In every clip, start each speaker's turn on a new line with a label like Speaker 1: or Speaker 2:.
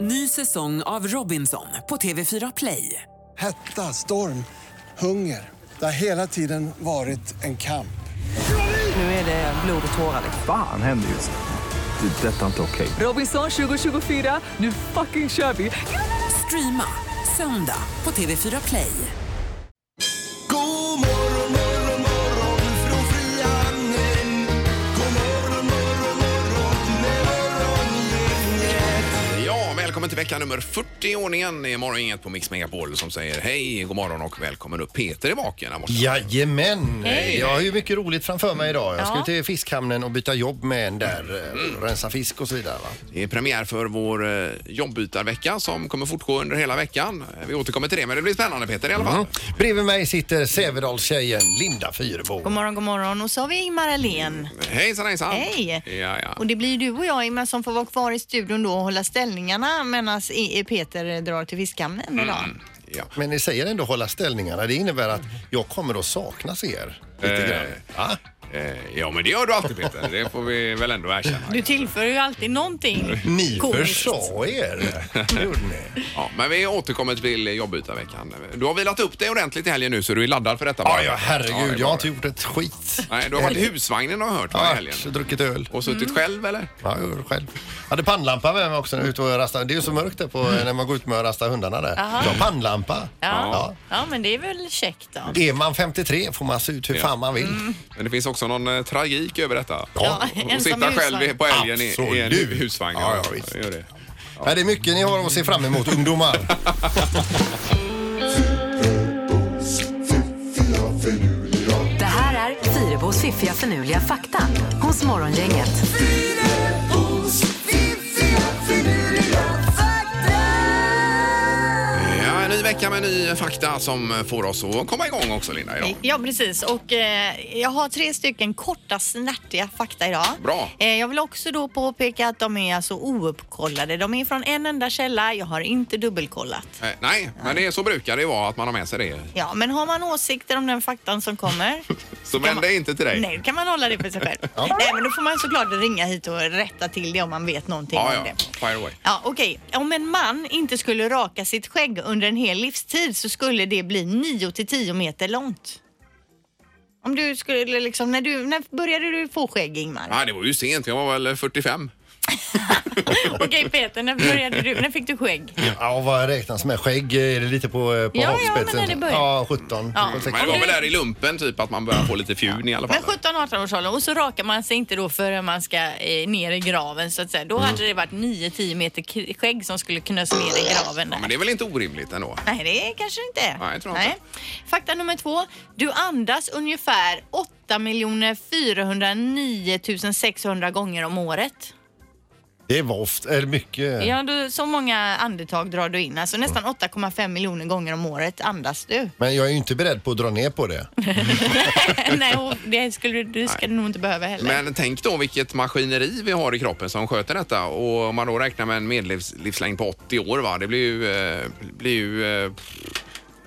Speaker 1: Ny säsong av Robinson på TV4 Play.
Speaker 2: Hetta, storm, hunger. Det har hela tiden varit en kamp.
Speaker 1: Nu är det blod och tårar. liksom.
Speaker 3: Fan händer just nu. Det. är Detta är inte okej.
Speaker 1: Robinson 2024, nu fucking kör vi! Streama söndag på TV4 Play.
Speaker 4: God morgon morgon morgon från Frihamnen. God morgon morgon morgon morgongänget.
Speaker 5: Ja, välkommen till vecka nummer 40 i ordningen. Det är morgongänget på Mix Megapol som säger hej, god morgon och välkommen upp. Peter är vaken här borta.
Speaker 6: Jajamän! Jag har ju mycket roligt framför mig idag. Jag ska till fiskhamnen och byta jobb med en där.
Speaker 5: Mm.
Speaker 6: eh, Rensa fisk och så vidare. Va?
Speaker 5: Det är premiär för vår eh, jobbytarvecka som kommer fortgå under hela veckan. Eh, Vi återkommer till det, men det blir spännande Peter i alla fall.
Speaker 6: Mm. Bredvid mig sitter Sävedalstjejen Linda
Speaker 7: God
Speaker 6: Fyrebo.
Speaker 7: morgon, god morgon. Och så har vi Ingmar Ahlén.
Speaker 5: Hejsan hejsan!
Speaker 7: Hej!
Speaker 5: Mm, Ja, ja.
Speaker 7: Och det blir ju du och jag Ingmar som får vara kvar i studion då och hålla ställningarna medan E- E. Peter drar till fiskhamnen idag.
Speaker 5: Mm. ja.
Speaker 6: Men ni säger ändå hålla ställningarna. Det innebär att jag kommer att saknas er. Lite
Speaker 5: Eh.
Speaker 6: grann. Ja.
Speaker 5: Eh, ja, men det gör du alltid Peter. Det får vi väl ändå erkänna.
Speaker 8: Du tillför ju alltid någonting.
Speaker 6: Ni
Speaker 8: Komiskt.
Speaker 6: försa er. Det gjorde ni.
Speaker 5: Ja, men vi återkommer till jobbytarveckan. Du har vilat upp dig ordentligt i helgen nu så du är laddad för detta.
Speaker 6: Ja,
Speaker 5: bara.
Speaker 6: ja,
Speaker 5: Ja, det är
Speaker 6: herregud. Jag
Speaker 5: bra.
Speaker 6: har inte gjort ett skit.
Speaker 5: Nej, du har varit i husvagnen har jag hört va, i
Speaker 6: Ja,
Speaker 5: helgen.
Speaker 6: druckit öl.
Speaker 5: Och suttit
Speaker 7: Mm.
Speaker 5: själv eller?
Speaker 6: Ja, jag gjorde det själv. Jag hade pannlampa med mig också när jag var ute och rastade. Det är ju så mörkt där på,
Speaker 5: Mm.
Speaker 6: när man går ut med och rastar hundarna där.
Speaker 8: Aha.
Speaker 6: Jag har pannlampa.
Speaker 8: Ja. ja, men det är väl käckt då.
Speaker 6: Är man 53 får man se ut hur
Speaker 5: Ja.
Speaker 6: fan man vill.
Speaker 5: Men det finns också någon eh, tragik över detta.
Speaker 6: Ja.
Speaker 5: Och
Speaker 8: ensam
Speaker 5: sitta
Speaker 8: i
Speaker 5: själv i-
Speaker 8: husvagn.
Speaker 5: på älgen i, i en
Speaker 6: Absolut.
Speaker 5: husvagn.
Speaker 6: Ja, ja, visst.
Speaker 5: Gör det.
Speaker 6: Ja, det är mycket ni har att se fram emot ungdomar.
Speaker 9: Det här är Fyrabos fiffiga förnuliga fakta hos Morgongänget.
Speaker 4: Fyrabos fiffiga finurliga fakta.
Speaker 5: Ja, en ny vecka med ny fakta som eh, får oss att komma igång också Linda idag.
Speaker 7: Ja, precis. Och eh, jag har tre stycken korta, snärtiga fakta idag.
Speaker 5: Bra.
Speaker 7: Eh, jag vill också då påpeka att de är alltså ouppkollade. De är från en enda källa. Jag har inte dubbelkollat.
Speaker 5: Eh, Nej, men det är så brukar det vara att man har med sig det.
Speaker 7: Ja, men har man åsikter om den faktan som kommer?
Speaker 5: Så men det är inte till dig.
Speaker 7: Nej, då kan man hålla det för sig själv. Nej, men då får man såklart ringa hit och rätta till det om man vet någonting
Speaker 5: Ja,
Speaker 7: om
Speaker 5: ja.
Speaker 7: det.
Speaker 5: Fire away.
Speaker 7: Ja, okej. Om en man inte skulle raka sitt skägg under en hel livstid så skulle det bli 9 till 10 meter långt. Om du skulle liksom, när, du, när började du få skägg Ingmar?
Speaker 5: Nej, det var ju sent. Jag var väl 45.
Speaker 8: Okej Peter, när började du? När fick du skägg?
Speaker 6: Ja, vad räknas med? Skägg, är det lite på, eh, på
Speaker 8: Ja, ja,
Speaker 6: havsspetsen?
Speaker 8: men när det börjar.
Speaker 6: Ja, 17.
Speaker 8: Ja.
Speaker 6: 16.
Speaker 5: Men det var väl där i lumpen typ att man började få lite fjun i alla fall.
Speaker 8: Men 17-18 års ålder och så rakar man sig inte då förrän man ska eh, ner i graven så att säga. Då
Speaker 5: Mm.
Speaker 8: hade det varit 9-10 meter k- skägg som skulle knös ner i graven där.
Speaker 5: Men det är väl inte orimligt ändå?
Speaker 7: Nej, det kanske det inte är.
Speaker 5: Nej, jag tror inte.
Speaker 7: Fakta nummer två. Du andas ungefär 8 409 600 gånger om året.
Speaker 6: Det var ofta, eller mycket.
Speaker 7: Ja, du, så många andetag drar du in. Alltså nästan 8,5 miljoner gånger om året andas du.
Speaker 6: Men jag är ju inte beredd på att dra ner på det.
Speaker 8: Nej, och det skulle du ska du nog inte behöva heller.
Speaker 5: Men tänk då vilket maskineri vi har i kroppen som sköter detta. Och om man då räknar med en medellivslängd på 80 år, va? det blir ju, eh, blir ju eh,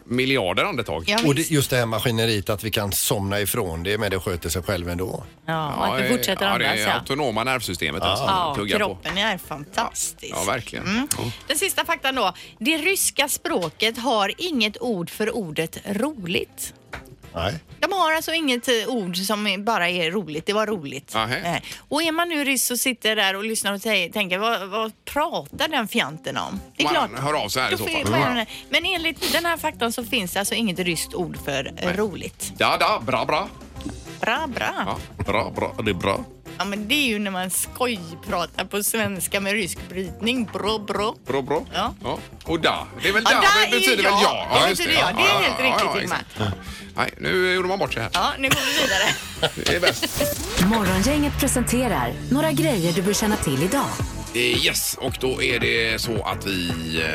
Speaker 5: miljarder andetag.
Speaker 7: Ja,
Speaker 6: Och
Speaker 7: visst.
Speaker 6: det, just det här maskineriet att vi kan somna ifrån det, men det sköter sig själv ändå.
Speaker 8: ja, och att vi
Speaker 5: eh,
Speaker 8: fortsätter
Speaker 5: ja,
Speaker 8: andas
Speaker 5: det är
Speaker 8: ja.
Speaker 5: autonoma nervsystemet
Speaker 6: Ah.
Speaker 5: alltså.
Speaker 8: Ja,
Speaker 5: Tuggar på.
Speaker 7: Kroppen är fantastisk.
Speaker 5: Ja, verkligen.
Speaker 7: Mm. Den sista faktan då. Det ryska språket har inget ord för ordet roligt.
Speaker 6: Nej.
Speaker 7: De har alltså inget eh, ord som är- bara är roligt. Det var roligt.
Speaker 5: Aha.
Speaker 7: Eh, Och är man nu ryss och sitter där och lyssnar och tä- tänker vad, vad pratar den fjanten om? Det är
Speaker 5: Man
Speaker 7: klart.
Speaker 5: hör av sig här i
Speaker 7: Då
Speaker 5: så
Speaker 7: får-
Speaker 5: fall.
Speaker 7: får jag- Men enligt den här faktan så finns det alltså inget ryskt ord för eh, roligt.
Speaker 5: Da, da, bra, bra.
Speaker 7: Bra, bra. Ja.
Speaker 5: Ja, bra, bra, det är bra.
Speaker 7: men det är ju när man skojpratar på svenska med rysk brytning. Bra, bra.
Speaker 5: Bra, bra.
Speaker 7: Ja.
Speaker 5: Och da, det är väl da,
Speaker 7: Ja, da
Speaker 5: det betyder
Speaker 7: är
Speaker 5: väl
Speaker 7: jag.
Speaker 5: ja?
Speaker 7: Det
Speaker 5: just
Speaker 7: betyder jag. Det är helt riktigt,
Speaker 5: exakt.
Speaker 7: Ingmar.
Speaker 5: Nej, nu gjorde man bort sig här.
Speaker 7: Ja, nu går vi vidare.
Speaker 5: Det är bäst.
Speaker 9: Morgongänget presenterar några grejer du bör känna till idag.
Speaker 5: Eh, Yes, och då är det så att vi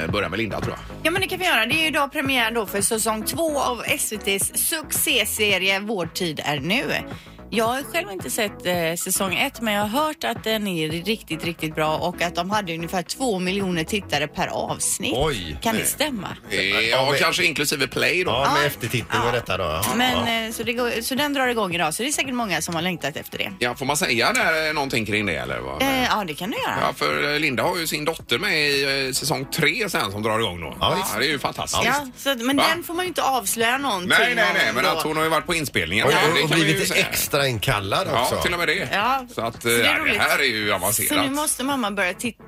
Speaker 5: eh, börjar med Linda tror jag.
Speaker 7: Ja men det kan vi göra. Det är ju idag premiär då för säsong två av SVTs succéserie Vår tid är nu.
Speaker 8: Jag har själv inte sett eh, säsong ett, men jag har hört att den är riktigt, riktigt bra och att de hade ungefär två miljoner tittare per avsnitt.
Speaker 6: Oj.
Speaker 8: Kan det stämma?
Speaker 5: Eh, Ja, kanske inklusive play då.
Speaker 6: Ja, med eftertitel och detta då. ja. Ja.
Speaker 7: Men, eh, så, det går, så den drar igång idag, så det är säkert många som har längtat efter det.
Speaker 5: Ja, får man säga där, eh, någonting kring det eller? Vad?
Speaker 7: Eh, ja, det kan du göra.
Speaker 5: Ja, för eh, Linda har ju sin dotter med i eh, säsong tre sen som drar igång då. Ja, det är ju fantastiskt.
Speaker 7: Ja, så, att- men
Speaker 5: Va?
Speaker 7: den får man ju inte avslöja någonting
Speaker 5: Nej, nej, nej,
Speaker 7: om
Speaker 5: men
Speaker 7: då.
Speaker 5: att hon har ju varit på inspelningen.
Speaker 6: Och,
Speaker 5: Det kan
Speaker 6: och, och
Speaker 5: man ju
Speaker 6: blivit
Speaker 5: säga.
Speaker 6: extra inkallad också.
Speaker 5: Ja, till och med det.
Speaker 7: Ja,
Speaker 5: Så att
Speaker 7: så det är
Speaker 5: det, det
Speaker 7: roligt.
Speaker 5: här är ju
Speaker 7: Så nu
Speaker 5: avancerat.
Speaker 7: måste mamma börja titta,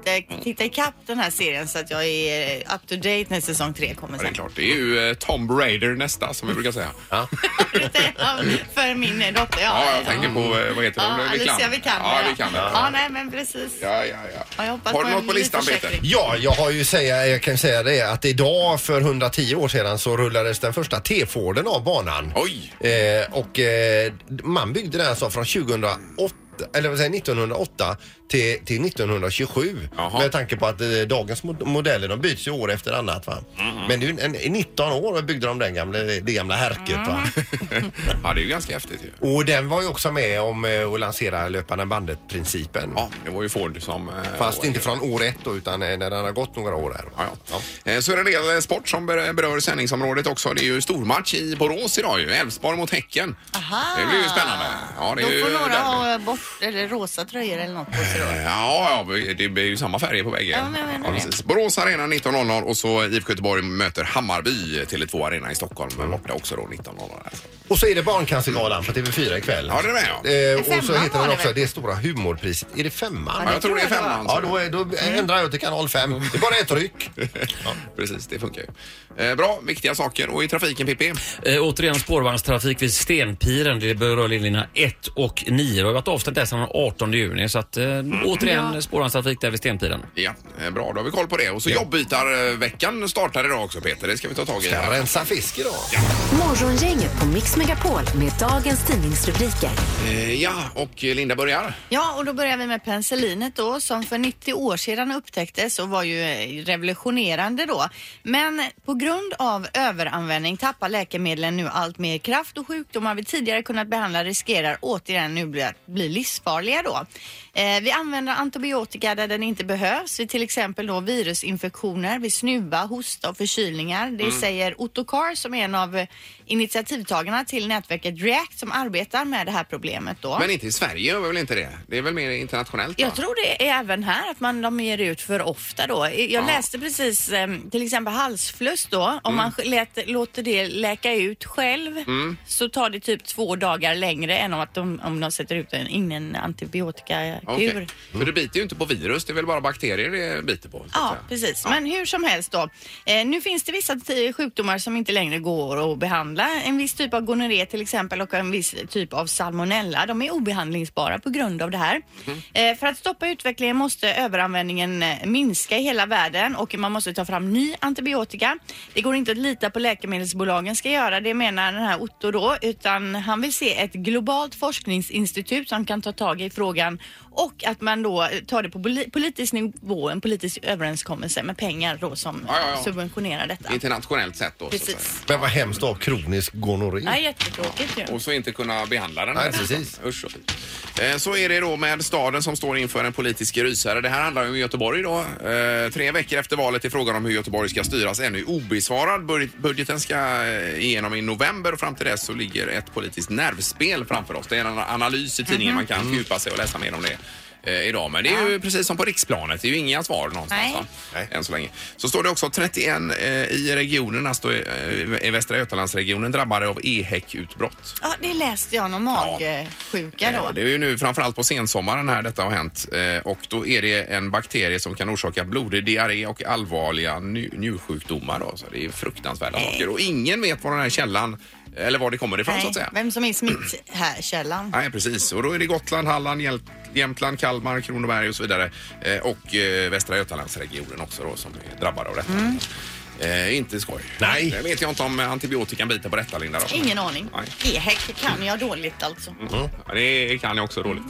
Speaker 7: titta ikapp den här serien så att jag är eh, up to date när säsong tre kommer
Speaker 5: Ja, det är
Speaker 7: sen.
Speaker 5: klart. Det är ju eh, Tomb Raider nästa som vi brukar säga.
Speaker 6: Ja.
Speaker 7: För min eh, dotter, ja.
Speaker 5: Ja, jag tänker på, eh, vad heter
Speaker 7: Ja,
Speaker 5: hon?
Speaker 7: Alicia Vikander.
Speaker 5: Ja, Vikander.
Speaker 7: Ja, nej, men precis.
Speaker 5: Ja, ja, ja.
Speaker 7: Ja, jag hoppas
Speaker 5: Har du
Speaker 7: på
Speaker 5: något på
Speaker 7: en
Speaker 5: listan
Speaker 7: liten
Speaker 5: Peter?
Speaker 7: försäkring.
Speaker 6: Ja, jag har ju säga, jag kan säga det att idag för 110 år sedan så rullades den första T-Forden av banan.
Speaker 5: Oj!
Speaker 6: Eh, och eh, man byggde den alltså från 2008 eller vad säger jag, 1908 till, till 1927.
Speaker 5: Jaha.
Speaker 6: Med tanke på att eh, dagens mod- modeller de byts ju år efter annat. Va? Men nu, en, i 19 år byggde de den gamla, det gamla härket. Va?
Speaker 5: Ja, det är ju ganska häftigt ju.
Speaker 6: Och den var ju också med om eh, att lansera löpande bandet-principen.
Speaker 5: Ja, det var ju Ford som... eh,
Speaker 6: Fast
Speaker 5: var-
Speaker 6: inte från år ett då, utan eh, när den har gått några år här.
Speaker 5: Ja, ja. Eh, Så är det en del eh, sport som ber- berör sändningsområdet också. Det är ju stormatch i Borås idag ju. Elfsborg mot Häcken.
Speaker 7: Aha.
Speaker 5: Det blir ju spännande. Ja, det är
Speaker 7: Då
Speaker 5: ju
Speaker 7: får några
Speaker 5: derby. Eh,
Speaker 7: ha bort, eller rosa tröjor eller något på sig då.
Speaker 5: Ja, ja, det blir ju samma färger på bägge.
Speaker 7: Ja, men jag menar det.
Speaker 5: precis. Borås Arena 19.00 och så IFK Göteborg möter Hammarby till 2 Arena i Stockholm.
Speaker 6: Mm.
Speaker 5: Men borta också då 19.00. alltså.
Speaker 6: Och så är det Barncancergalan på TV4 ikväll.
Speaker 5: Ja, det är med,
Speaker 6: Eh, och så
Speaker 7: Femman
Speaker 6: heter den
Speaker 7: var det
Speaker 6: också
Speaker 7: väl?
Speaker 6: det stora humorpriset. Är det femman?
Speaker 5: Ja, jag tror det är femman.
Speaker 6: Ja, då, är, då ändrar jag till kanal 5. Det är bara ett ryck.
Speaker 5: Precis, det funkar ju. Eh, bra, viktiga saker. Och i trafiken, Pippi?
Speaker 10: Eh, återigen spårvagnstrafik vid Stenpiren. Det berör linjerna 1 och 9. Det har varit avstängt där sedan den 18 juni. Så att, eh, återigen spårvagnstrafik där vid Stenpiren.
Speaker 5: Ja, eh, bra. Då har vi koll på det. Och så jobbytarveckan startar idag också, Peter. Det ska vi ta tag i.
Speaker 6: Kan
Speaker 5: här.
Speaker 6: rensa fisk idag.
Speaker 9: Morgongänget på Mix Megapol med dagens tidningsrubriker.
Speaker 5: Eh, ja, och Linda börjar.
Speaker 7: Ja, och då börjar vi med penicillinet då som för 90 år sedan upptäcktes och var ju eh, revolutionerande då. Men på grund av överanvändning tappar läkemedlen nu allt mer kraft och sjukdomar vi tidigare kunnat behandla riskerar återigen nu bli, bli livsfarliga då. Eh, vi använder antibiotika där den inte behövs, vid till exempel då virusinfektioner, vid snuva, hosta och förkylningar. Det säger Otto Carr som är en av eh, initiativtagarna till nätverket React som arbetar med det här problemet då.
Speaker 5: Men inte i Sverige gör vi väl inte det? Det är väl mer internationellt? va?
Speaker 8: Jag tror det är även här att man, de ger ut för ofta då. Jag läste precis em, till exempel halsfluss då. Om man lät, låter det läka ut själv så tar det typ två dagar längre än om, att de, om de sätter ut en, in en antibiotikakur.
Speaker 5: Okej. För det biter ju inte på virus, det är väl bara bakterier det biter på? så att
Speaker 7: Ja,
Speaker 5: säga.
Speaker 7: precis. Men hur som helst då. Eh, nu finns det vissa t- sjukdomar som inte längre går att behandla. En viss typ av gonorré till exempel och en viss typ av salmonella. De är obehandlingsbara på grund av det här.
Speaker 5: Mhm.
Speaker 7: Eh, för att stoppa utvecklingen måste överanvändningen eh, minska i hela världen och man måste ta fram ny antibiotika. Det går inte att lita på läkemedelsbolagen ska göra det menar den här Otto då utan han vill se ett globalt forskningsinstitut som kan ta tag i frågan och att man då tar det på poli- politisk nivå, en politisk överenskommelse med pengar då som
Speaker 5: Ja, ja, ja.
Speaker 7: subventionerar detta.
Speaker 5: Internationellt sett då. så att säga.
Speaker 7: Precis.
Speaker 6: Men vad hemskt att ha kronisk gonorré.
Speaker 8: Ja, jättetråkigt ju.
Speaker 5: Och så inte kunna behandla den. här.
Speaker 6: Nej, precis.
Speaker 5: Usch och fy. Eh, Så är det då med staden som står inför en politisk rysare. Det här handlar ju om Göteborg då. Eh, Tre veckor efter valet är frågan om hur Göteborg ska styras ännu obesvarad. Bud- Budgeten ska eh, igenom i november och fram till dess så ligger ett politiskt nervspel framför oss. Det är en analys i tidningen, man
Speaker 6: Mhm.
Speaker 5: kan fördjupa sig och läsa mer om det eh, idag. Men det är ju precis som på riksplanet, det är ju inga svar någonstans.
Speaker 7: Nej.
Speaker 5: va? än så länge. Så står det också 31 eh, i regionerna, står, eh, i Västra Götalandsregionen drabbade av E EHEC-utbrott.
Speaker 7: Ja, det läste jag om magsjuka
Speaker 5: Eh,
Speaker 7: då.
Speaker 5: Det är ju nu framförallt på sensommaren här detta har hänt Eh, och då är det en bakterie som kan orsaka blodig diarré och allvarliga nj- njursjukdomar. Då. Så det är fruktansvärda saker och ingen vet var den här källan eller var det kommer ifrån så
Speaker 7: Nej,
Speaker 5: att säga.
Speaker 7: vem som är smittkällan.
Speaker 5: Nej, precis. Och då är det Gotland, Halland, Hjäl- Jämtland, Kalmar, Kronoberg och så vidare. Eh, och eh, Västra Götalandsregionen också då som är drabbad av detta. Eh, inte skoj.
Speaker 6: Nej.
Speaker 5: Det vet jag inte om eh, antibiotikan biter på detta, Linda. Då.
Speaker 7: Ingen aning.
Speaker 5: Nej. Mm,
Speaker 7: EHEC kan jag dåligt alltså.
Speaker 5: Ja, det kan jag också dåligt.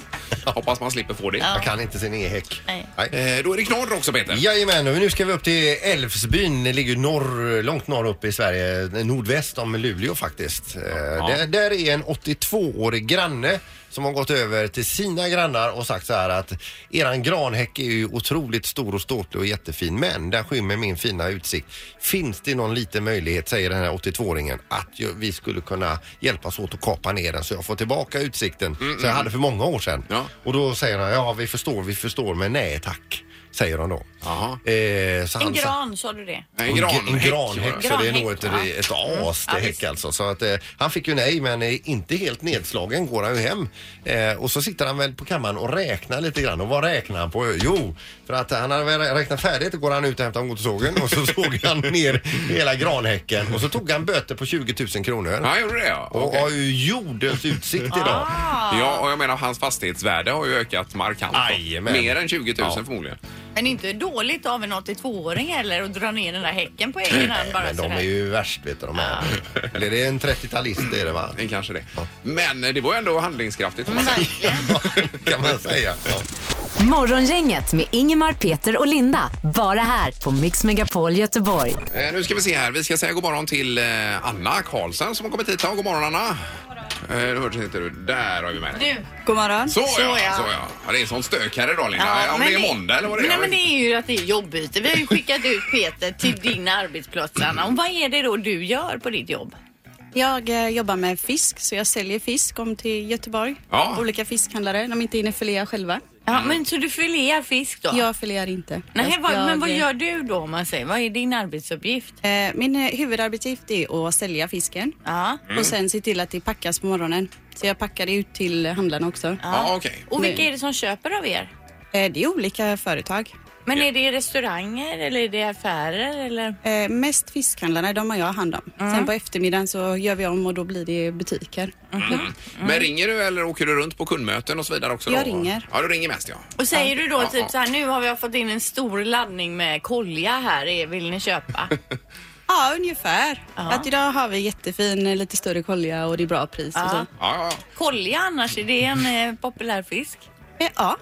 Speaker 5: Hoppas man slipper få det.
Speaker 6: Jag kan inte sin e-häck.
Speaker 7: Nej.
Speaker 5: Eh, då är det knorr också, Peter.
Speaker 6: Jajamän, och nu ska vi upp till Älvsbyn. Det ligger ju norr, långt norr upp i Sverige, nordväst om Luleå faktiskt. Eh, Där, där är en 82-årig granne
Speaker 11: som har gått över till sina grannar och sagt så här att eran granhäck är ju otroligt stor och ståtlig och jättefin men där skymmer min fina utsikt. Finns det någon liten möjlighet, säger den här 82-åringen, att ju- vi skulle kunna hjälpas åt att kapa ner den så jag får tillbaka utsikten som jag hade för många år sedan. Och då säger han, ja vi förstår, vi förstår men nej tack, säger han då. Eh, så
Speaker 7: En
Speaker 11: han sa-
Speaker 7: gran, sa du det?
Speaker 11: en, en granhäck, så det är nog ett,
Speaker 7: Granhäck,
Speaker 11: ett
Speaker 7: ja.
Speaker 11: as det häck alltså. Så att, eh, han fick ju nej, men eh, inte helt nedslagen går han ju hem. Eh, och så sitter han väl på kammaren och räknar lite grann. Och vad räknar han på? Jo, för att han hade väl räknat färdigt går han ut och hämtar motorsågen och så såg han ner hela granhäcken. Och så tog han böter på 20 000 kronor.
Speaker 5: Ja, gjorde det ja.
Speaker 11: Och har ju jordens utsikt idag.
Speaker 7: Ah.
Speaker 5: Ja, och jag menar hans fastighetsvärde har ju ökat markant. då.
Speaker 11: Jajamän.
Speaker 5: Mer än 20 000
Speaker 11: Ja.
Speaker 5: förmodligen.
Speaker 7: Men inte dåligt av en 82-åring heller att dra ner den där häcken på egen hand bara
Speaker 11: Men de
Speaker 7: sådär.
Speaker 11: är ju värst vet du. De här. Eller det är en 30-talist det är det va?
Speaker 5: Det är kanske det. Men eh, det var ju ändå handlingskraftigt. får man säga.
Speaker 11: kan man säga. Ja.
Speaker 12: Morgongänget med Ingemar, Peter och Linda. Bara här på Mix Megapol Göteborg.
Speaker 5: Eh, Nu ska vi se här. Vi ska säga god morgon till eh, Anna Karlsson som har kommit hit. Ja, God morgon Anna. Eh, Nu hördes inte du. Där har vi med dig.
Speaker 7: Du, god morgon.
Speaker 5: Så, ja, så ja. ja. Det är sån stök här idag Linda. Ja, Om det är måndag eller vad det är.
Speaker 7: Nej,
Speaker 5: jag
Speaker 7: men
Speaker 5: vet
Speaker 7: det
Speaker 5: inte.
Speaker 7: är ju att det är jobbbyte. Vi har ju skickat ut Peter till din arbetsplats, Anna. Och vad är det då du gör på ditt jobb?
Speaker 13: Jag eh, jobbar med fisk, så jag säljer fisk om till Göteborg.
Speaker 5: Ja.
Speaker 13: Olika fiskhandlare, de inte hinner filea själva.
Speaker 5: Mm.
Speaker 7: Ja, men så du filear fisk då?
Speaker 13: Jag filear inte.
Speaker 7: Nej,
Speaker 13: jag,
Speaker 7: vad, men vad
Speaker 13: jag-
Speaker 7: gör du då om man säger? Vad är din arbetsuppgift?
Speaker 13: Eh, Min eh, huvudarbetsuppgift är att sälja fisken
Speaker 7: Ja.
Speaker 10: Mm.
Speaker 13: och sen se till att det packas på morgonen. Så jag packar det ut till handlarna också.
Speaker 5: Ja, okej.
Speaker 7: Och vilka
Speaker 13: Men-
Speaker 7: är det som köper av er?
Speaker 13: Eh, Det är olika företag.
Speaker 7: Men är det restauranger eller är det affärer eller?
Speaker 13: Eh, Mest fiskhandlarna, de har jag hand om. Sen på eftermiddagen så gör vi om och då blir det butiker.
Speaker 5: Mm.
Speaker 7: Mm.
Speaker 5: Men ringer du eller åker du runt på kundmöten och så vidare också?
Speaker 13: Jag
Speaker 5: då?
Speaker 13: ringer.
Speaker 5: Ja, du ringer mest ja.
Speaker 7: Och säger du då
Speaker 5: Ja, ja.
Speaker 7: typ så här, nu har vi fått in en stor laddning med kolja här, är- vill ni köpa?
Speaker 13: Ja, ungefär.
Speaker 7: Ja.
Speaker 13: Att idag har vi jättefin, eh, lite större kolja och det är bra pris och så.
Speaker 7: Ja.
Speaker 5: Ja, ja.
Speaker 7: Kolja annars, är det en eh, populär fisk?
Speaker 13: Eh, Ja.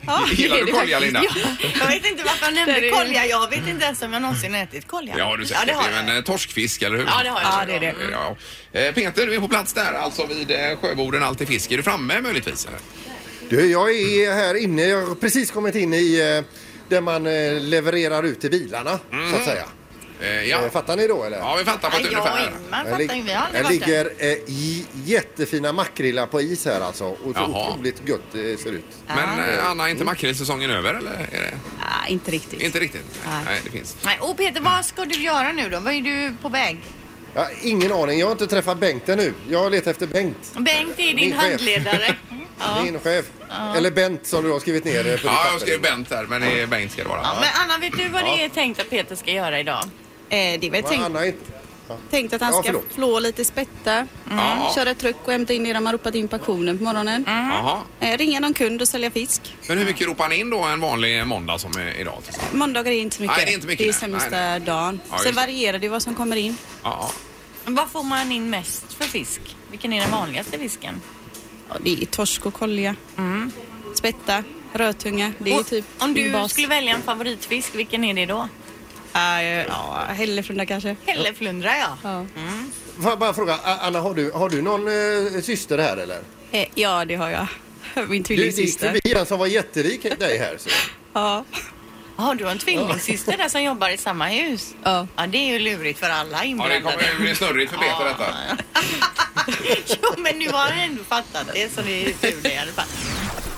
Speaker 7: Ja,
Speaker 5: Gillar
Speaker 7: det är
Speaker 5: du
Speaker 7: det
Speaker 5: kolja, Linda?
Speaker 7: faktiskt. Ja, jag vet inte varför jag
Speaker 13: Det
Speaker 7: nämnde
Speaker 13: är-
Speaker 7: kolja. Jag vet inte ens om jag någonsin ätit kolja.
Speaker 5: Det har du
Speaker 7: Ja,
Speaker 5: säkert.
Speaker 7: det har
Speaker 5: det är
Speaker 7: jag.
Speaker 5: väl en eh, torskfisk, eller hur?
Speaker 7: Ja, det har jag. Ja, det är det.
Speaker 5: Ja, ja. Eh, Peter, du är på plats där, alltså vid eh, sjöborden Allt är fisk. Är du framme möjligtvis? Eller?
Speaker 6: Du, jag är här inne. Jag har precis kommit in i eh, där man eh, levererar ut till bilarna, så att säga.
Speaker 5: Eh, ja.
Speaker 6: Eh, Fattar ni då eller?
Speaker 5: ja, vi fattar på ett
Speaker 7: Nej, jag och
Speaker 5: ungefär.
Speaker 6: Här
Speaker 7: Ingmar fattar ju. Vi har
Speaker 6: här
Speaker 7: aldrig varit där.
Speaker 6: ligger eh, i jättefina makrillar på is här alltså. Och så
Speaker 5: Jaha.
Speaker 6: otroligt gött det ser ut.
Speaker 5: Men eh, Anna, är inte makrillsäsongen över? Eller är det?
Speaker 13: Ah, inte riktigt.
Speaker 5: Inte riktigt. Nej, det finns.
Speaker 7: Nej, och Peter, vad ska du göra nu då? Vad är du på väg?
Speaker 6: Jag har ingen aning. Jag har inte träffat Bengt ännu. Jag letar efter Bengt.
Speaker 7: Bengt är din
Speaker 6: Min chef.
Speaker 7: handledare. Ja.
Speaker 6: Din chef. Eller Bent som du har skrivit ner eh, på ditt
Speaker 5: Ja,
Speaker 6: papper.
Speaker 5: jag skrev Bent där, men det är Bengt ska det vara.
Speaker 7: Ja, men Anna, vet du vad det är tänkt att Peter ska göra idag?
Speaker 13: Eh, det är väl
Speaker 6: Vad
Speaker 13: tänkt,
Speaker 6: Anna inte.
Speaker 13: tänkt att han
Speaker 6: Ja,
Speaker 13: ska
Speaker 6: förlåt.
Speaker 13: flå lite spätta,
Speaker 5: Ja.
Speaker 13: Mm,
Speaker 5: Mm.
Speaker 13: köra truck och hämta in det de har ropat in pensionen på morgonen.
Speaker 5: Jaha.
Speaker 13: Eh, ringa någon kund och sälja fisk.
Speaker 5: Men hur mycket ropar han in då en vanlig måndag som är idag? till exempel?
Speaker 13: Måndagar är inte så mycket.
Speaker 5: Nej, det är inte mycket,
Speaker 13: det är
Speaker 5: nej.
Speaker 13: sämsta
Speaker 5: Nej, nej.
Speaker 13: dagen.
Speaker 5: Ja, just
Speaker 13: Sen
Speaker 5: det.
Speaker 13: varierar det vad som kommer in.
Speaker 5: Ja,
Speaker 7: Vad får man in mest för fisk? Vilken är den vanligaste fisken?
Speaker 13: Ja, det är torsk och kolja. Mm. Spätta, rödtunga. Det är
Speaker 7: Och
Speaker 13: typ
Speaker 7: om
Speaker 13: min
Speaker 7: du
Speaker 13: bas.
Speaker 7: skulle välja en favoritfisk, vilken är det då?
Speaker 13: Ah, eh, ja, hälleflunda kanske.
Speaker 7: Hälleflundra, ja.
Speaker 13: Ja.
Speaker 6: Får jag bara fråga, A- Anna har du, har du någon eh, syster här eller?
Speaker 13: Eh, ja, det har jag. Min
Speaker 6: Du du gick
Speaker 13: tvillingsyster.
Speaker 6: förbi en som var jättelik dig här. Så.
Speaker 13: Ja.
Speaker 7: Har du har en tvillingsyster där som jobbar i samma hus?
Speaker 13: Ja.
Speaker 7: Ja, det är ju lurigt för
Speaker 5: ja
Speaker 7: alla
Speaker 5: det kommer
Speaker 7: inblandade.
Speaker 5: ju bli snurrigt för Peter detta.
Speaker 7: jo, men nu har han ändå fattat det, så det är tur det i alla fall.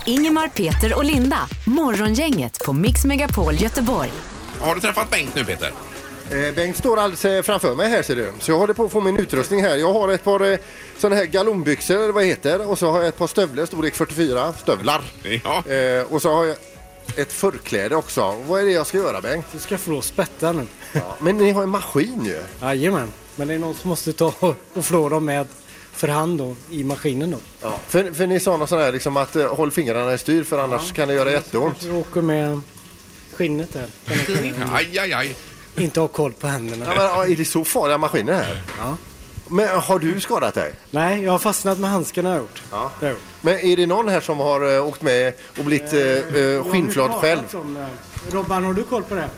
Speaker 12: Ingemar, Peter och Linda. Morgongänget på Mix Megapol Göteborg.
Speaker 5: Har du träffat Bengt nu Peter?
Speaker 6: Eh, Bengt står alldeles eh, framför mig här ser du. Så jag håller på att få min utrustning här. Jag har ett par eh, sådana här galonbyxor eller vad det heter och så har jag ett par stövlar storlek 44 stövlar.
Speaker 5: Ja.
Speaker 6: Eh, och så har jag ett förkläde också. Vad är det jag ska göra Bengt?
Speaker 14: Du ska flå spätta nu.
Speaker 6: Ja. Men ni har en maskin ju.
Speaker 14: Jajamän. Men det är någon som måste ta och- och flå dem med för hand då, i maskinen då.
Speaker 6: För, för ni sa något sånt här liksom att eh, håll fingrarna i styr för annars kan det göra jätteont.
Speaker 14: Du åker med skinnet där. Den här skinnen.
Speaker 5: Aj, aj, aj.
Speaker 14: Inte ha koll på händerna.
Speaker 6: Ja, men, ja, är det så farliga maskiner här?
Speaker 14: Ja.
Speaker 6: Men har du skadat dig?
Speaker 14: Nej, jag har fastnat med handskarna har jag gjort.
Speaker 6: Ja.
Speaker 14: Det har jag gjort.
Speaker 6: Men är det någon här som har eh, åkt med och blivit eh, eh,
Speaker 14: Jag har ju
Speaker 6: skinnflad
Speaker 14: pratat
Speaker 6: själv?
Speaker 14: om det här. Robban, har du koll på det?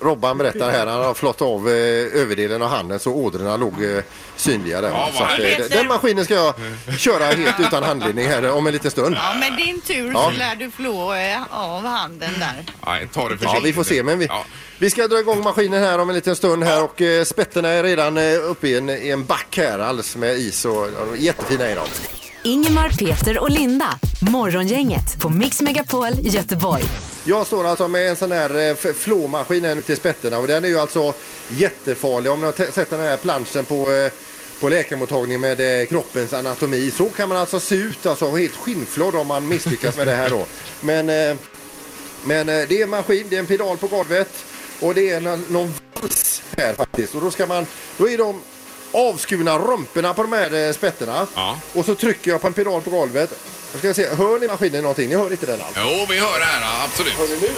Speaker 6: Robban berättar här, han har flott av eh, överdelen av handen så ådrorna låg eh, synliga där. va?
Speaker 15: vad
Speaker 6: så att, eh,
Speaker 15: härligt.
Speaker 6: den maskinen ska jag köra helt utan handledning här eh, om en liten stund.
Speaker 16: Ja, med din tur
Speaker 6: Ja.
Speaker 16: så lär du flå eh, av handen där.
Speaker 5: Nej, ta det
Speaker 6: Ja,
Speaker 5: försiktigt.
Speaker 6: vi får se. Men vi, vi ska dra igång maskinen här om en liten stund här och eh, spetterna är redan eh, uppe i en, i en back här alldeles med is och ja, de är jättefina är de.
Speaker 12: Ingemar, Peter och Linda. Morgongänget på Mix Megapol Göteborg.
Speaker 6: Jag står alltså med en sån här eh, f- flåmaskin här nu till spetterna och den är ju alltså jättefarlig. Om ni har te- sett den här planschen på, eh, på läkarmottagningen med eh, kroppens anatomi så kan man alltså se ut alltså och helt skinnflådd om man misslyckas med det här då. Men, eh, men eh, det är en maskin, det är en pedal på golvet och det är någon, någon vals här faktiskt. Och då ska man, då är de avskurna rumporna på de här eh, spetterna. Och så trycker jag på en pedal på golvet. Jag ska se, hör ni maskinen någonting? Ni hör inte den alls?
Speaker 5: Jo, vi hör det här, absolut.
Speaker 6: Hör nu?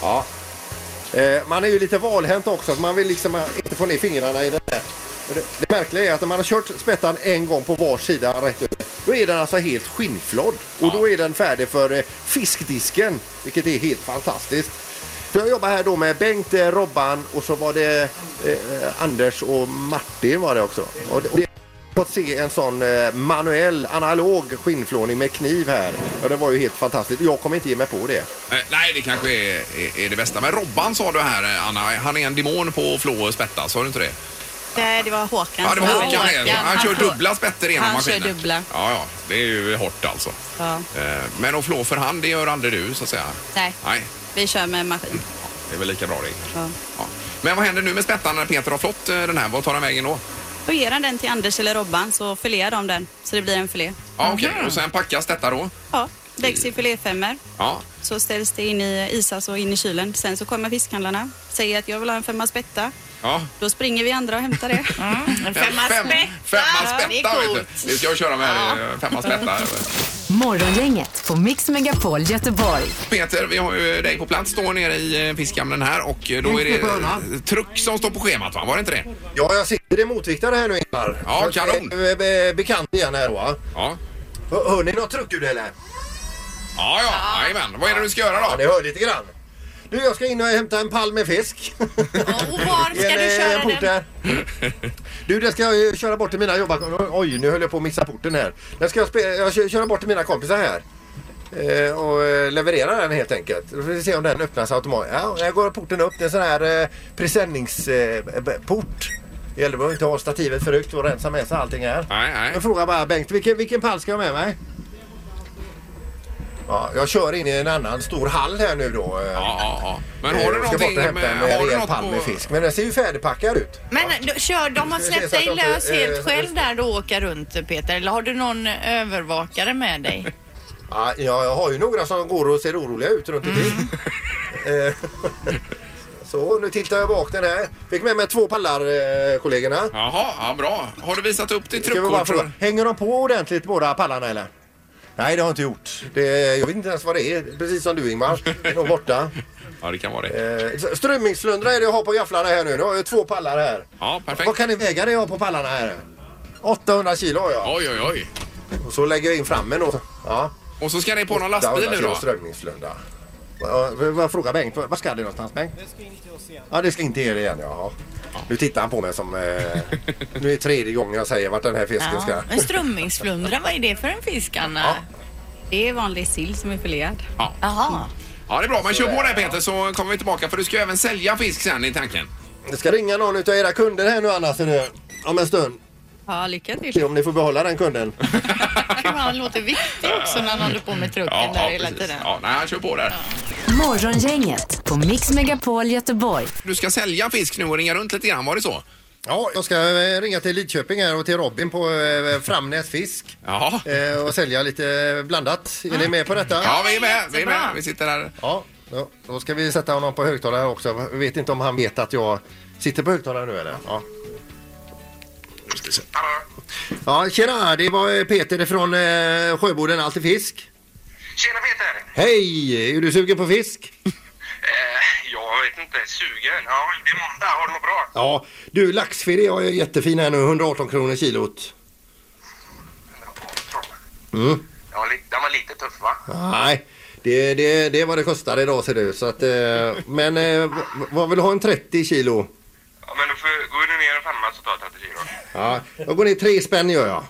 Speaker 6: Ja. Eh, man är ju lite valhänt också, så man vill liksom eh, inte få ner fingrarna i den där. Och Det, det märkliga är att när man har kört spettan en gång på var sida rätt upp, då är den alltså helt skinnflådd. Och då är den färdig för eh, fiskdisken, vilket är helt fantastiskt. Så jag jobbar här då med Bengt, eh, Robban och så var det eh, Anders och Martin var det också. Och det, och det fått se en sån eh, manuell analog skinnflåning med kniv här. Ja, det var ju helt fantastiskt. Jag kommer inte ge mig på det.
Speaker 5: Eh, Nej, det kanske är, är, är det bästa. Men Robban sa du här, eh, Anna, han är en demon på flå och spätta, sa du inte det?
Speaker 13: Nej, det var Håkan.
Speaker 5: Ja, det var
Speaker 13: som-
Speaker 5: Håkan det. Han kör
Speaker 13: flå-
Speaker 5: dubbla spetter i ena
Speaker 13: Han
Speaker 5: maskinen.
Speaker 13: kör dubbla.
Speaker 5: Ja, ja, det är ju hårt alltså.
Speaker 13: Ja.
Speaker 5: Eh, Men att flå för hand, det gör aldrig du så att säga?
Speaker 13: Nej,
Speaker 5: Nej,
Speaker 13: vi kör med maskin.
Speaker 5: det är väl lika bra det.
Speaker 13: Ja.
Speaker 5: Men vad händer nu med spettan när Peter har flått eh, den här? Vad tar den vägen då?
Speaker 13: Och ger han den till Anders eller Robban så filear de den så det blir en filé.
Speaker 5: Ja, okej.
Speaker 13: Mm.
Speaker 5: Och sen packas detta då?
Speaker 13: Ja, läggs i filéfemmor.
Speaker 5: Ja.
Speaker 13: Så ställs det in i isas och in i kylen. Sen så kommer fiskhandlarna, säger att jag vill ha en femma spätta.
Speaker 5: Ja.
Speaker 13: Då springer vi andra och hämtar det.
Speaker 7: Mm.
Speaker 13: en
Speaker 5: femma Fem- spätta. Femma spätta, vet du. Det ska jag köra med. eh, Femma spätta.
Speaker 12: Morgongänget på Mix Megapol Göteborg.
Speaker 5: Peter, vi har ju dig på plats då nere i eh, fiskhamnen här och eh, då är det eh, truck som står på schemat va? Var det inte det?
Speaker 6: Ja, jag sitter i motviktare här nu Ingmar.
Speaker 5: Ja,
Speaker 6: Så,
Speaker 5: kanon.
Speaker 6: eh, be- Bekant igen här då. va?
Speaker 5: Ja.
Speaker 6: Hör, hör ni något truckljud eller?
Speaker 5: Ja, ja, jajamän. Vad är det du ska göra då?
Speaker 6: Ja, ni hör lite grann. Du, jag ska in och hämta en pall med fisk. och var
Speaker 5: ska du köra den?
Speaker 6: Du, den ska jag ju köra bort till mina jobbar... Oj, nu höll jag på att missa porten här. Den ska jag, spe... jag kö- köra bort till mina kompisar här. Eh, och eh, leverera den helt enkelt. Då får vi se om den öppnas automatiskt. Ja, där går porten upp. Det är en sån här eh, presenningsport. Eh, b- port. det gäller bara att inte ha stativet förut och rensa med sig allting här.
Speaker 5: Nej, nej.
Speaker 6: Jag frågar bara Bengt, vilken, vilken pall ska jag ha med mig? Ja, jag kör in i en annan stor hall här nu då. eh.
Speaker 5: Ja, ja, Men
Speaker 6: Eh,
Speaker 5: har du
Speaker 6: ska bort
Speaker 5: någonting
Speaker 6: och hämta en
Speaker 5: med- har
Speaker 6: eh,
Speaker 5: du
Speaker 6: rejäl
Speaker 5: något
Speaker 6: pall
Speaker 5: på-
Speaker 6: med fisk. Men den ser ju färdigpackad ut.
Speaker 7: Men då, kör, de har
Speaker 6: Nu ska vi se
Speaker 7: släppt
Speaker 6: så att
Speaker 7: dig
Speaker 6: jag
Speaker 7: lös
Speaker 6: inte, eh,
Speaker 7: helt själv där du åker runt Peter. Eller har du någon övervakare med dig?
Speaker 6: Ja, jag jag har ju några som går och ser oroliga ut runt omkring.
Speaker 5: Mm.
Speaker 6: Eh, Så, nu tittar jag bak den här. Fick med mig två pallar, eh, kollegorna.
Speaker 5: Jaha, ja, bra. Har du visat upp ditt
Speaker 6: Ska vi bara
Speaker 5: truckkort?
Speaker 6: fråga, hänger de på ordentligt båda pallarna eller? Nej, det har jag inte gjort. Det, jag vet inte ens vad det är. Precis som du Ingmar. Det är nog borta.
Speaker 5: Ja, det kan vara det.
Speaker 6: Eh, Strömmingsflundra är det jag har på gafflarna här nu. Nu har jag två pallar här.
Speaker 5: Ja, perfekt.
Speaker 6: Vad kan ni väga det jag har på pallarna här? 800 kilo har jag.
Speaker 5: Oj, oj, oj.
Speaker 6: Och så lägger jag in frammen då. Ja.
Speaker 5: Och så ska det på någon
Speaker 6: 800
Speaker 5: lastbil nu
Speaker 6: kilo
Speaker 5: då?
Speaker 6: strömmingsflunda. Jag frågar Bengt, vad ska det någonstans Bengt? Det ska in till oss igen. Ja, det ska in till er igen. Ja. Nu tittar han på mig som... Eh, nu är det tredje gången jag säger vart den här fisken ska.
Speaker 7: Ja. Men strömmingsflundra, vad är det för en fisk Anna?
Speaker 13: Det är vanlig sill som är filead.
Speaker 5: Ja.
Speaker 7: Jaha.
Speaker 5: Ja, det är bra. Men kör på det Peter så kommer vi tillbaka för du ska ju även sälja fisk sen i tanken.
Speaker 6: Det ska ringa någon utav era kunder här nu annars är det om en stund.
Speaker 13: Ja, lycka till.
Speaker 6: Se om ni får behålla den kunden.
Speaker 16: Han låter viktig också när han håller på med trucken
Speaker 5: Ja,
Speaker 16: där
Speaker 5: ja,
Speaker 16: hela
Speaker 5: precis.
Speaker 16: tiden.
Speaker 5: Ja, nej, han kör på där.
Speaker 12: Morgongänget på Mix Megapol Göteborg.
Speaker 5: Du ska sälja fisk nu och ringa runt lite grann, var det så?
Speaker 6: Ja, jag ska eh, ringa till Lidköping här och till Robin på eh, Framnäs Fisk.
Speaker 5: Jaha.
Speaker 6: Eh, och sälja lite eh, blandat. Är ni med på detta?
Speaker 5: Ja, vi är med. Vi är med. Vi sitter här.
Speaker 6: Ja, då, då ska vi sätta honom på högtalare här också. Jag vet inte om han vet att jag sitter på högtalare nu eller? Ja. Ja, tjena, det var eh, Peter från eh, Sjöboden Allt i Fisk.
Speaker 17: Tjena Peter!
Speaker 6: Hej! Är du sugen på fisk?
Speaker 17: Eh, jag vet inte, sugen? Ja, det är måndag, har du något bra?
Speaker 6: Ja, du laxfilé har jag jättefin här nu, 118 kronor kilot. Mm.
Speaker 17: Ja, li- den var lite tuff va?
Speaker 6: Nej, Det, det, det är vad det kostar idag ser du. Så att, eh, men eh, v- vad vill du ha en 30 kilo?
Speaker 18: Ja, men då får, går du ner en femma så tar jag 30 kilo.
Speaker 6: Ja, jag går ner tre spänn gör jag.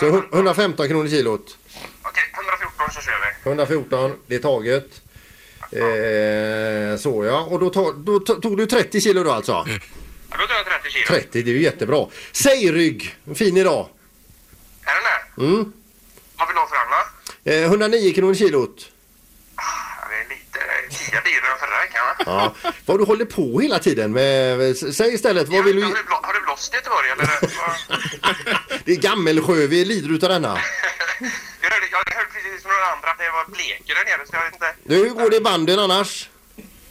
Speaker 6: Så hu- 115 kronor kilot.
Speaker 18: Okej, 114 så kör vi.
Speaker 6: 114, det är taget. Eh, så ja, och då, tog- då to- tog du 30 kilo då alltså?
Speaker 18: Ja, då tar jag 30 kilo.
Speaker 6: 30, det är ju jättebra. Sägrygg, fin idag.
Speaker 18: Är den där?
Speaker 6: Mm.
Speaker 18: Vad vill du ha för den då?
Speaker 6: Eh, 109 kronor kilot.
Speaker 18: Ja, det är lite... eh, 10 dyrare än förra veckan va?
Speaker 6: Ja. Vad du håller på hela tiden med. s- Säg istället, vad vill du...
Speaker 18: Har du, blå, har du blåst i Göteborg eller? Vad-
Speaker 6: Det är Gammelsjö, vi lider utav denna.
Speaker 18: jag, hörde, jag hörde precis från några andra att det var bleker där nere så jag vet inte.
Speaker 6: Nu, hur går det i banden annars?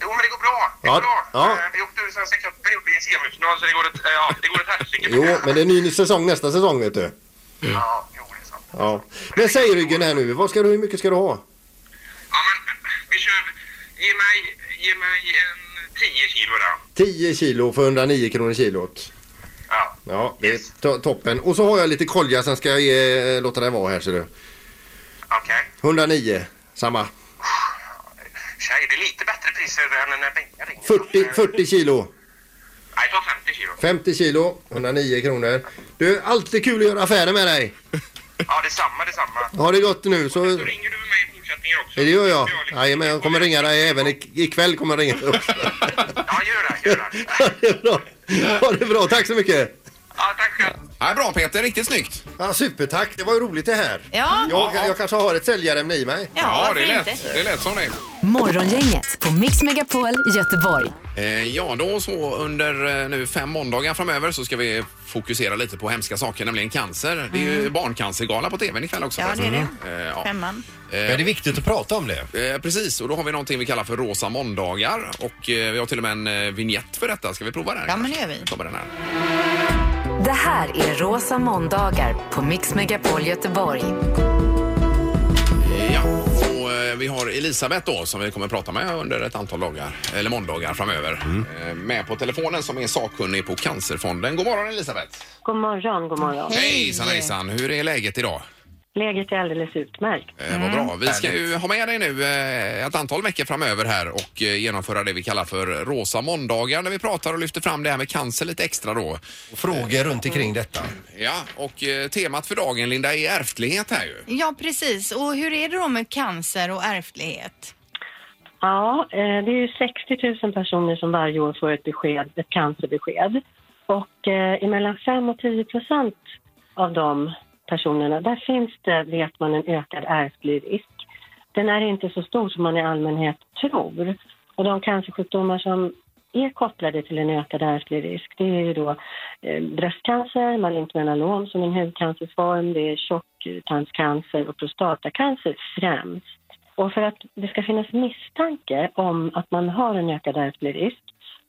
Speaker 18: Jo men det går bra. Det
Speaker 6: Ja,
Speaker 18: går bra.
Speaker 6: ja.
Speaker 18: Eh, Vi åkte ur Svenska cupen gjorde vi i semifinal så det går ett, eh, ja, det går ett helsike.
Speaker 6: Jo, men det är ny säsong nästa säsong vet du.
Speaker 18: Ja, jo, det är sant.
Speaker 6: Ja. Men säg ryggen här nu, vad ska du, hur mycket ska du ha?
Speaker 18: Vi kör... Ge mig, ge mig en 10 kilo då.
Speaker 6: 10 kilo för 109 kronor kilot.
Speaker 18: Ja.
Speaker 6: Ja, det är to- toppen. Och så har jag lite kolja, sen ska jag ge, låta dig vara här ser du. Okej. 109, samma.
Speaker 18: Tjej, det är lite bättre priser än när Benga ringer.
Speaker 6: 40, 40 kilo.
Speaker 18: Nej, ta 50 kilo.
Speaker 6: 50 kilo, 109 kronor. Du, alltid kul att göra affärer med dig.
Speaker 18: Ja, detsamma, detsamma.
Speaker 6: Ha det gott nu så... Det gör jag. Jajamän, jag kommer ringa dig även i- ikväll. Kommer jag ringa dig också. Ja, gör det. Gör det. är bra. Ha det bra. Tack så mycket.
Speaker 5: Ja, bra Peter, riktigt snyggt.
Speaker 6: Ja, supertack. Det var ju roligt det här.
Speaker 5: Ja.
Speaker 6: Jag, jag kanske har ett säljarämne i mig.
Speaker 5: Ja, det,
Speaker 6: är
Speaker 5: lät, det lät som det.
Speaker 9: Morgongänget på Mix Megapol Göteborg.
Speaker 5: Eh, Ja, då så under eh, nu fem måndagar framöver så ska vi fokusera lite på hemska saker, nämligen cancer. Det är ju barncancergala på tvn ikväll också.
Speaker 7: Mm. Ja, det är det.
Speaker 5: Eh, ja.
Speaker 7: Femman.
Speaker 5: Men
Speaker 6: det är viktigt att prata om det.
Speaker 5: Eh, precis, och då har vi någonting vi kallar för rosa måndagar och eh, vi har till och med en eh, vignett för detta. Ska vi prova den?
Speaker 9: Ja, men
Speaker 5: det
Speaker 7: gör vi.
Speaker 5: Kommer den här.
Speaker 9: Det här är Rosa måndagar på Mix Megapol Göteborg.
Speaker 5: Ja, och eh, vi har Elisabeth då som vi kommer prata med under ett antal dagar, eller måndagar framöver. Eh, Med på telefonen som är sakkunnig på Cancerfonden. God morgon Elisabeth!
Speaker 12: God morgon, god morgon.
Speaker 5: Hejsan hejsan! Hur är läget idag?
Speaker 12: Läget är alldeles utmärkt.
Speaker 5: Eh, Vad bra. Vi ska ju ha med dig nu eh, ett antal veckor framöver här och eh, genomföra det vi kallar för rosa måndagar när vi pratar och lyfter fram det här med cancer lite extra då. Eh,
Speaker 6: Frågor runt omkring detta.
Speaker 5: Ja, och eh, temat för dagen Linda är ärftlighet här ju.
Speaker 7: Ja, precis. Och hur är det då med cancer och ärftlighet?
Speaker 12: Ja, eh, det är ju 60 000 personer som varje år får ett besked, ett cancerbesked. Och eh, mellan 5 och 10 procent av de personerna, där finns det, vet man, en ökad ärftlig risk. Den är inte så stor som man i allmänhet tror. Och de cancersjukdomar som är kopplade till en ökad ärftlig risk, det är ju då eh, bröstcancer, malignt melanom som en hudcancerform, det är tjocktarmscancer och prostatacancer främst. Och för att det ska finnas misstanke om att man har en ökad ärftlig risk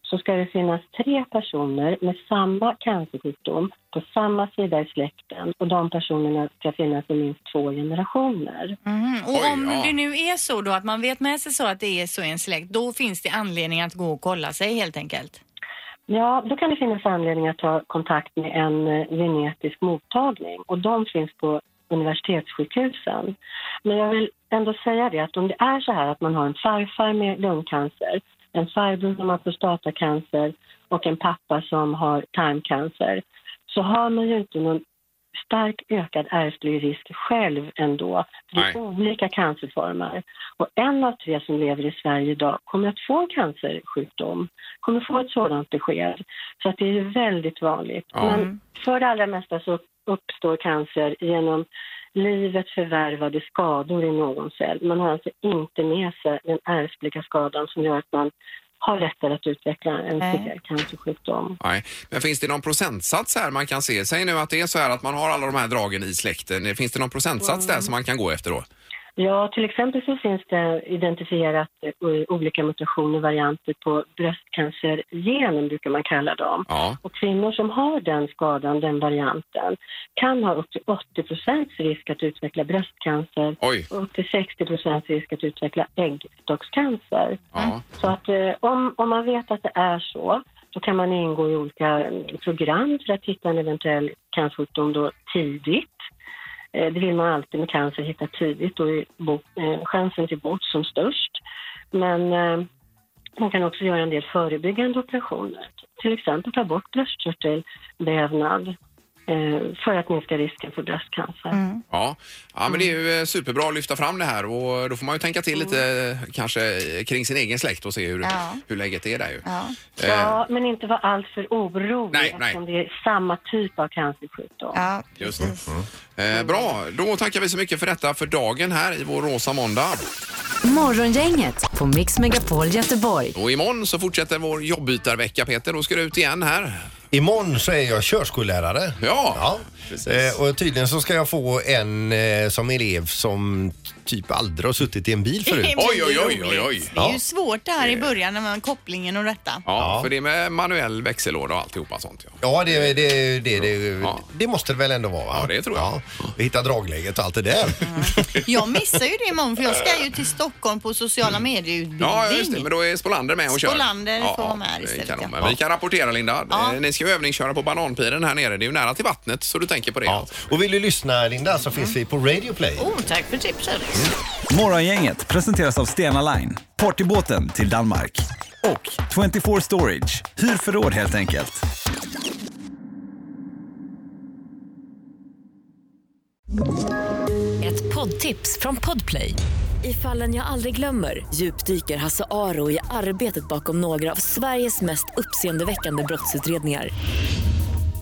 Speaker 12: så ska det finnas tre personer med samma cancersjukdom på samma sida i släkten och de personerna ska finnas i minst två generationer.
Speaker 7: Mm. Och
Speaker 12: Oj,
Speaker 7: om
Speaker 12: ja.
Speaker 7: det nu är så då att man vet med sig så att det är så i en släkt, då finns det anledning att gå och kolla sig helt enkelt.
Speaker 12: Ja, då kan det finnas anledning att ta kontakt med en eh, genetisk mottagning och de finns på universitetssjukhusen. Men jag vill ändå säga det att om det är så här att man har en farfar med lungcancer, en farbror som har prostatacancer och en pappa som har tarmcancer så har man ju inte någon stark ökad ärftlig risk själv ändå. För det är olika cancerformer. Och en av tre som lever i Sverige idag kommer att få en cancersjukdom, kommer få ett sådant besked. Så att det är ju väldigt vanligt. Men för det allra mesta så uppstår cancer genom livet förvärvade skador i någon cell. Man har alltså inte med sig den ärftliga skadan som gör att man har lättare att utveckla en tidigare cancersjukdom.
Speaker 5: Nej. Men finns det någon procentsats här man kan se? Säg nu att det är så här att man har alla de här dragen i släkten. Finns det någon procentsats där som man kan gå efter då?
Speaker 12: Ja, till exempel så finns det identifierat eh, olika mutationer och varianter på bröstcancergenen, brukar man kalla dem. Och kvinnor som har den skadan, den varianten, kan ha upp till 80 procents risk att utveckla bröstcancer och upp till 60 procents risk att utveckla äggstockscancer. Så att eh, om, om man vet att det är så, då kan man ingå i olika eh, program för att hitta en eventuell cancersjukdom då tidigt. Eh, Det vill man alltid med cancer hitta tidigt och är bo- eh, chansen till bot som störst. Men eh, man kan också göra en del förebyggande operationer. Till exempel ta bort bröstkörtelvävnad eh, för att minska risken för bröstcancer.
Speaker 9: Mm.
Speaker 5: Ja. ja, men det är
Speaker 7: Mm.
Speaker 5: ju eh, superbra att lyfta fram det här och då får man ju tänka till lite eh, kanske eh, kring sin egen släkt och se hur,
Speaker 12: Ja.
Speaker 5: hur läget är där ju.
Speaker 12: Ja.
Speaker 5: Eh.
Speaker 12: men inte vara alltför orolig
Speaker 5: Nej, nej.
Speaker 12: eftersom det är samma typ av cancersjukdom.
Speaker 5: Just det. Eh, bra, då tackar vi så mycket för detta för dagen här i vår rosa måndag.
Speaker 9: Morgongänget på Mix Megapol Göteborg.
Speaker 5: Och imorgon så fortsätter vår jobbytarvecka Peter, då ska du ut igen här.
Speaker 6: Imorgon så är jag körskollärare.
Speaker 5: Ja,
Speaker 6: Eh, och tydligen så ska jag få en eh, som elev som typ aldrig har suttit i en bil förut.
Speaker 7: Det blir Oj, oj, oj,
Speaker 5: oj, oj.
Speaker 7: Det är ju svårt det här i början när man kopplingen och detta.
Speaker 5: Ja, för det är med manuell växellåda och alltihopa sånt. Ja,
Speaker 6: Ja, det, det, det, det, det måste det väl ändå vara? Va? Ja, det tror jag. Hitta dragläget och allt det där.
Speaker 7: Jag missar ju det imorgon för jag ska ju till Stockholm på sociala medieutbildning.
Speaker 5: ja just det, men då är Spolander med och kör.
Speaker 7: Spolander får vara med här
Speaker 5: det är
Speaker 7: istället,
Speaker 5: kanon.
Speaker 7: ja.
Speaker 5: Men Vi kan rapportera Linda.
Speaker 7: Ja.
Speaker 5: Eh, Ni ska ju övningsköra på bananpiren här nere. Det är ju nära till vattnet så du tänker på det. alltså.
Speaker 6: Och vill du lyssna Linda så finns vi på Radio Play.
Speaker 7: Oh, tack för tipset.
Speaker 19: Mm.
Speaker 17: Morgongänget presenteras av Stena Line, partybåten till Danmark. Och 24 Storage, hyr förråd helt enkelt.
Speaker 20: Ett poddtips från Podplay. I fallen jag aldrig glömmer djupdyker Hasse Aro i arbetet bakom några av Sveriges mest uppseendeväckande brottsutredningar.